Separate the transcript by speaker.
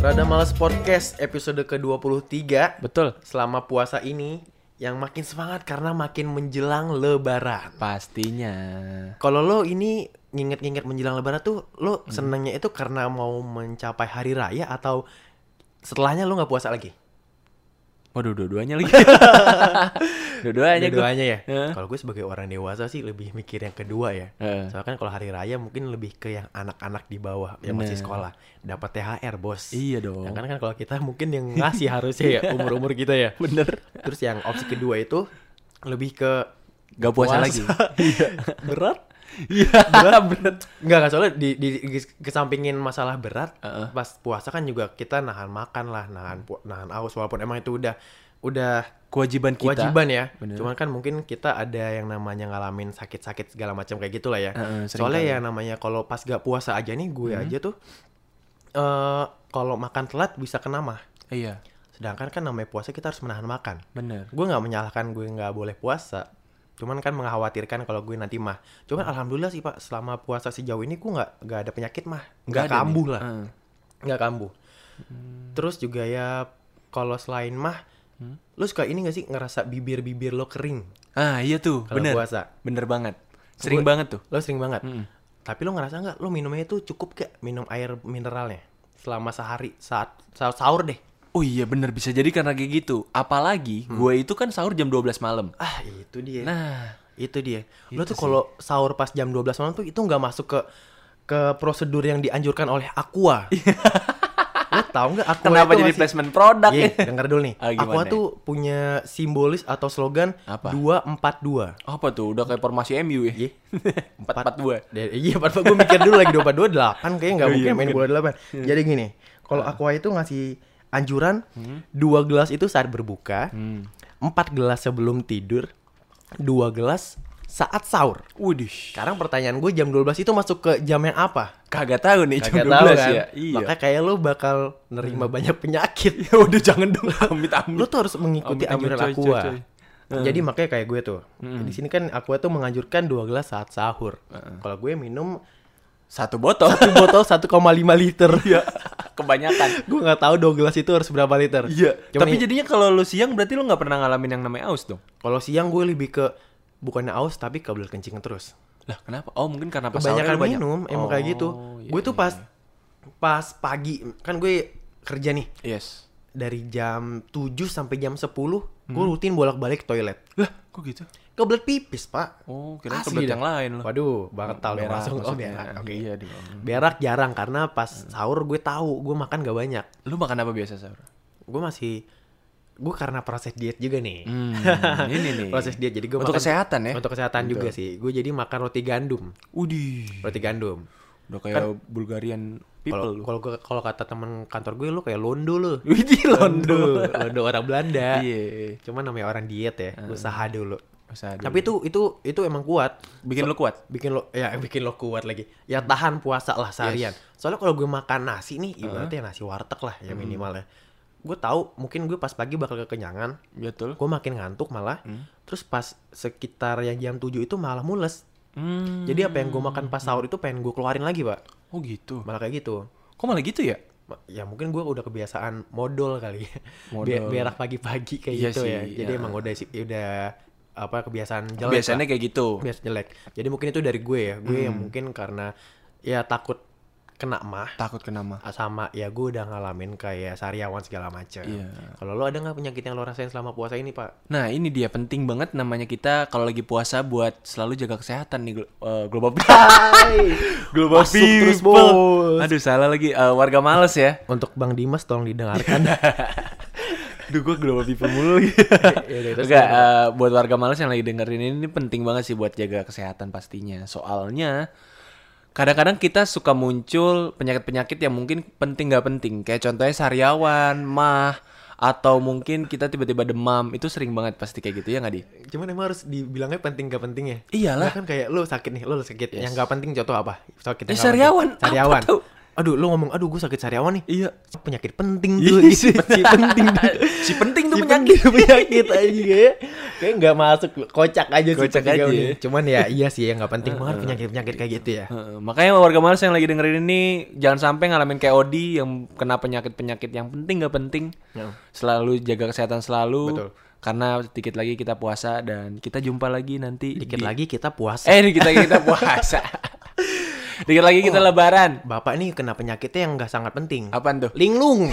Speaker 1: Rada Males Podcast episode ke-23
Speaker 2: Betul.
Speaker 1: Selama puasa ini Yang makin semangat karena makin menjelang lebaran
Speaker 2: Pastinya.
Speaker 1: Kalau lo ini nginget-nginget menjelang lebaran tuh Lo senangnya itu karena mau mencapai hari raya Atau setelahnya lo nggak puasa lagi?
Speaker 2: Waduh, dua-duanya lagi. dua-duanya gue.
Speaker 1: Dua-duanya ya?
Speaker 2: Heeh.
Speaker 1: Kalau gue sebagai orang dewasa sih lebih mikir yang kedua ya
Speaker 2: Heeh.
Speaker 1: Soalnya kan kalau hari raya mungkin lebih ke yang anak-anak di bawah Yang masih
Speaker 2: Bener.
Speaker 1: sekolah Dapat THR bos
Speaker 2: Iya dong.
Speaker 1: Ya kan kan kalau kita mungkin yang ngasih harusnya ya umur-umur kita ya.
Speaker 2: Bener.
Speaker 1: Terus yang opsi kedua itu lebih ke
Speaker 2: Gak puasa lagi.
Speaker 1: berat.
Speaker 2: Iya, berat. berat.
Speaker 1: Enggak enggak soalnya di, di, di- kesampingin masalah berat,
Speaker 2: Heeh.
Speaker 1: pas puasa kan juga kita nahan makan lah, nahan pu- nahan haus walaupun emang itu udah udah
Speaker 2: Kewajiban kita.
Speaker 1: kewajiban ya.
Speaker 2: Bener.
Speaker 1: Cuman kan mungkin kita ada yang namanya ngalamin sakit-sakit segala macam kayak gitulah ya.
Speaker 2: Heeh,
Speaker 1: Soalnya
Speaker 2: sering kali. Mm-hmm.
Speaker 1: yang namanya kalau pas gak puasa aja nih gue aja tuh eh kalau makan telat bisa kena mah.
Speaker 2: Iya,
Speaker 1: Sedangkan kan namanya puasa kita harus menahan makan.
Speaker 2: bener.
Speaker 1: Gue nggak menyalahkan gue nggak boleh puasa. Cuman kan mengkhawatirkan kalau gue nanti mah. Cuman alhamdulillah sih pak, selama puasa sejauh ini gue nggak nggak ada Ah. penyakit mah, nggak
Speaker 2: ada nih.
Speaker 1: kambuh lah,
Speaker 2: Heeh.
Speaker 1: nggak kambuh. Terus juga ya kalau selain mah, lu suka ini gak sih ngerasa bibir-bibir lo kering
Speaker 2: Ah, iya tuh.
Speaker 1: kalau
Speaker 2: bener.
Speaker 1: puasa?
Speaker 2: Bener banget. Sering
Speaker 1: Gua-
Speaker 2: banget tuh.
Speaker 1: Lo sering banget.
Speaker 2: Mm-mm.
Speaker 1: Tapi lo ngerasa nggak lo minumnya itu cukup gak minum air mineralnya selama sehari saat saat sahur deh?
Speaker 2: Oh iya bener bisa jadi karena kayak gitu. Apalagi gue itu kan sahur jam 12 malam.
Speaker 1: Ah itu dia.
Speaker 2: Nah,
Speaker 1: Itu dia. Lo
Speaker 2: Itu
Speaker 1: tuh kalau sahur pas jam 12 malam tuh itu nggak masuk ke ke prosedur yang dianjurkan oleh Aqua. Lo tau nggak Aqua
Speaker 2: kenapa
Speaker 1: itu
Speaker 2: jadi
Speaker 1: ngasih-
Speaker 2: placement produk?
Speaker 1: Ye,
Speaker 2: ya?
Speaker 1: denger dulu nih.
Speaker 2: Ah, gimana?
Speaker 1: Aqua tuh punya simbolis atau slogan
Speaker 2: Apa?
Speaker 1: 242.
Speaker 2: Apa tuh? Udah kayak formasi MU ya?
Speaker 1: Iya.
Speaker 2: 442.
Speaker 1: Dan- Iya, pada gue mikir dulu lagi 242 8 kayaknya nggak
Speaker 2: Oh, iya,
Speaker 1: mungkin Iya. Ah. main
Speaker 2: mungkin.
Speaker 1: bola 8. Jadi gini, kalau Aqua itu ngasih anjuran dua gelas itu saat berbuka, empat gelas sebelum tidur, dua gelas saat sahur.
Speaker 2: Waduh.
Speaker 1: Sekarang pertanyaan gue jam 12 itu masuk ke jam yang apa?
Speaker 2: Kagak tahu nih jam
Speaker 1: Kagak
Speaker 2: 12
Speaker 1: tahu kan?
Speaker 2: ya. Iya. Hmm.
Speaker 1: Makanya kayak lo bakal nerima banyak penyakit.
Speaker 2: Ya udah jangan dong amit amit.
Speaker 1: Lo tuh harus mengikuti
Speaker 2: Amit-amit,
Speaker 1: anjuran
Speaker 2: coy,
Speaker 1: aqua. Nah,
Speaker 2: coy, Hmm. coy.
Speaker 1: Jadi makanya kayak gue tuh. Di sini kan aqua tuh menganjurkan dua gelas saat sahur.
Speaker 2: Hmm.
Speaker 1: Kalau gue minum
Speaker 2: Satu botol.
Speaker 1: satu botol 1,5 liter.
Speaker 2: Iya. Kebanyakan.
Speaker 1: gue nggak tahu dua gelas itu harus berapa liter.
Speaker 2: Iya.
Speaker 1: Cuman
Speaker 2: Tapi
Speaker 1: i-
Speaker 2: jadinya kalau lu siang berarti lu nggak pernah ngalamin yang namanya aus dong.
Speaker 1: kalau siang gue lebih ke bukannya aus tapi kebelet kencing terus.
Speaker 2: Lah kenapa? Oh mungkin karena pas
Speaker 1: kebanyakan
Speaker 2: sahurnya lu
Speaker 1: minum emang kayak gitu.
Speaker 2: Oh, iya,
Speaker 1: gue tuh
Speaker 2: iya,
Speaker 1: pas pas pagi kan gue kerja nih
Speaker 2: iya. Yes.
Speaker 1: dari jam 7 sampai jam 10 gue
Speaker 2: Hmm.
Speaker 1: rutin bolak-balik toilet.
Speaker 2: Lah kok gitu?
Speaker 1: Kebelet pipis, Pak.
Speaker 2: Oh kira
Speaker 1: Asli
Speaker 2: kebelet
Speaker 1: dah.
Speaker 2: yang lain lu.
Speaker 1: Waduh, banget tahu dong
Speaker 2: Berak
Speaker 1: langsung oh
Speaker 2: maksudnya.
Speaker 1: berak. Oke.
Speaker 2: Iya Hmm. dong.
Speaker 1: Berak jarang karena pas sahur gue tahu gue makan gak banyak.
Speaker 2: Lu makan apa biasa sahur?
Speaker 1: Gue masih gue karena proses diet juga nih.
Speaker 2: Hmm, ini nih.
Speaker 1: Proses diet jadi gue
Speaker 2: Untuk kesehatan ya?
Speaker 1: Untuk kesehatan
Speaker 2: Betul.
Speaker 1: juga sih. Gue jadi makan roti gandum.
Speaker 2: Udih.
Speaker 1: Roti gandum.
Speaker 2: Udah kayak Bulgarian
Speaker 1: Kalau
Speaker 2: people lu.
Speaker 1: kalau gua- kalau kata teman kantor gue lu kayak londo lu.
Speaker 2: Widih Londo.
Speaker 1: Londo orang Belanda.
Speaker 2: Iya. Ah.
Speaker 1: Cuman namanya orang diet ya, usaha dulu.
Speaker 2: Usaha dulu.
Speaker 1: Tapi itu itu itu emang kuat.
Speaker 2: bikin lu kuat.
Speaker 1: Bikin lo ya bikin lo kuat lagi. Ya tahan puasa lah seharian. Soalnya kalau gue makan nasi nih ibaratnya nasi warteg lah
Speaker 2: Hmm.
Speaker 1: ya minimal ya. Gue tahu mungkin gue pas pagi bakal kekenyangan.
Speaker 2: Betul.
Speaker 1: Gue makin ngantuk malah. Terus pas sekitar yang jam 7 itu malah mules.
Speaker 2: Hmm.
Speaker 1: Jadi apa yang gue makan pas sahur itu pengen gue keluarin lagi, Pak.
Speaker 2: Oh gitu.
Speaker 1: Malah kayak gitu.
Speaker 2: Kok malah gitu ya?
Speaker 1: Ma- Ya mungkin gue udah kebiasaan modal kali. ya. Be-
Speaker 2: Modal.
Speaker 1: berak pagi-pagi kayak
Speaker 2: Iya
Speaker 1: gitu
Speaker 2: sih,
Speaker 1: ya. Jadi
Speaker 2: ya.
Speaker 1: emang udah sih udah apa kebiasaan jelek.
Speaker 2: Biasanya kayak gitu.
Speaker 1: Pak. Biasa jelek. Jadi mungkin itu dari gue ya. Gue
Speaker 2: Hmm.
Speaker 1: yang mungkin karena ya takut kena mah
Speaker 2: Takut kena mah.
Speaker 1: sama ya gue udah ngalamin kayak sariawan segala macem.
Speaker 2: Iya.
Speaker 1: Kalau lo ada nggak penyakit yang lo rasain selama puasa ini, Pak?
Speaker 2: Nah ini dia penting banget namanya kita kalau lagi puasa buat selalu jaga kesehatan nih glo- eh, global global
Speaker 1: Masuk terus,
Speaker 2: people.
Speaker 1: Bos.
Speaker 2: Aduh salah lagi eh, warga males ya.
Speaker 1: Untuk Bang Dimas tolong didengarkan.
Speaker 2: Duh gue global people mulu. lagi.
Speaker 1: Iya, terus
Speaker 2: Enggak eh, buat warga males yang lagi dengerin ini, ini penting banget sih buat jaga kesehatan pastinya. Soalnya kadang-kadang kita suka muncul penyakit-penyakit yang mungkin penting nggak penting. Kayak contohnya sariawan, mah, atau mungkin kita tiba-tiba demam itu sering banget pasti kayak gitu ya nggak di?
Speaker 1: Cuman emang harus dibilangnya penting gak penting ya?
Speaker 2: Iyalah.
Speaker 1: Nah, kan kayak lu sakit nih, lu sakit. Yang gak penting contoh apa? Sakit
Speaker 2: Eh,
Speaker 1: yang nggak penting.
Speaker 2: sariawan. Apa
Speaker 1: Sariawan.
Speaker 2: tuh?
Speaker 1: aduh lu ngomong aduh gue sakit sariawan nih
Speaker 2: Iya.
Speaker 1: penyakit penting
Speaker 2: Iya
Speaker 1: tuh
Speaker 2: sih.
Speaker 1: si penting tuh.
Speaker 2: Si penting tuh
Speaker 1: Si
Speaker 2: penyakit.
Speaker 1: penting penyakit aja kayak kayak nggak masuk kocak aja sih
Speaker 2: Kocak
Speaker 1: pentingnya
Speaker 2: aja
Speaker 1: ini.
Speaker 2: ya.
Speaker 1: cuman ya iya sih ya nggak penting banget penyakit penyakit kayak gitu ya
Speaker 2: Heeh, makanya warga Malas yang lagi dengerin ini jangan sampai ngalamin kayak Odi yang kena penyakit-penyakit yang penting nggak penting.
Speaker 1: Ya.
Speaker 2: Selalu jaga kesehatan selalu.
Speaker 1: Betul.
Speaker 2: Karena sedikit lagi kita puasa dan kita jumpa lagi nanti
Speaker 1: dikit
Speaker 2: di-
Speaker 1: lagi kita puasa
Speaker 2: Eh, dikit lagi kita puasa. dikit lagi kita lebaran.
Speaker 1: bapak nih kena penyakitnya yang nggak sangat penting
Speaker 2: Apaan tuh?
Speaker 1: linglung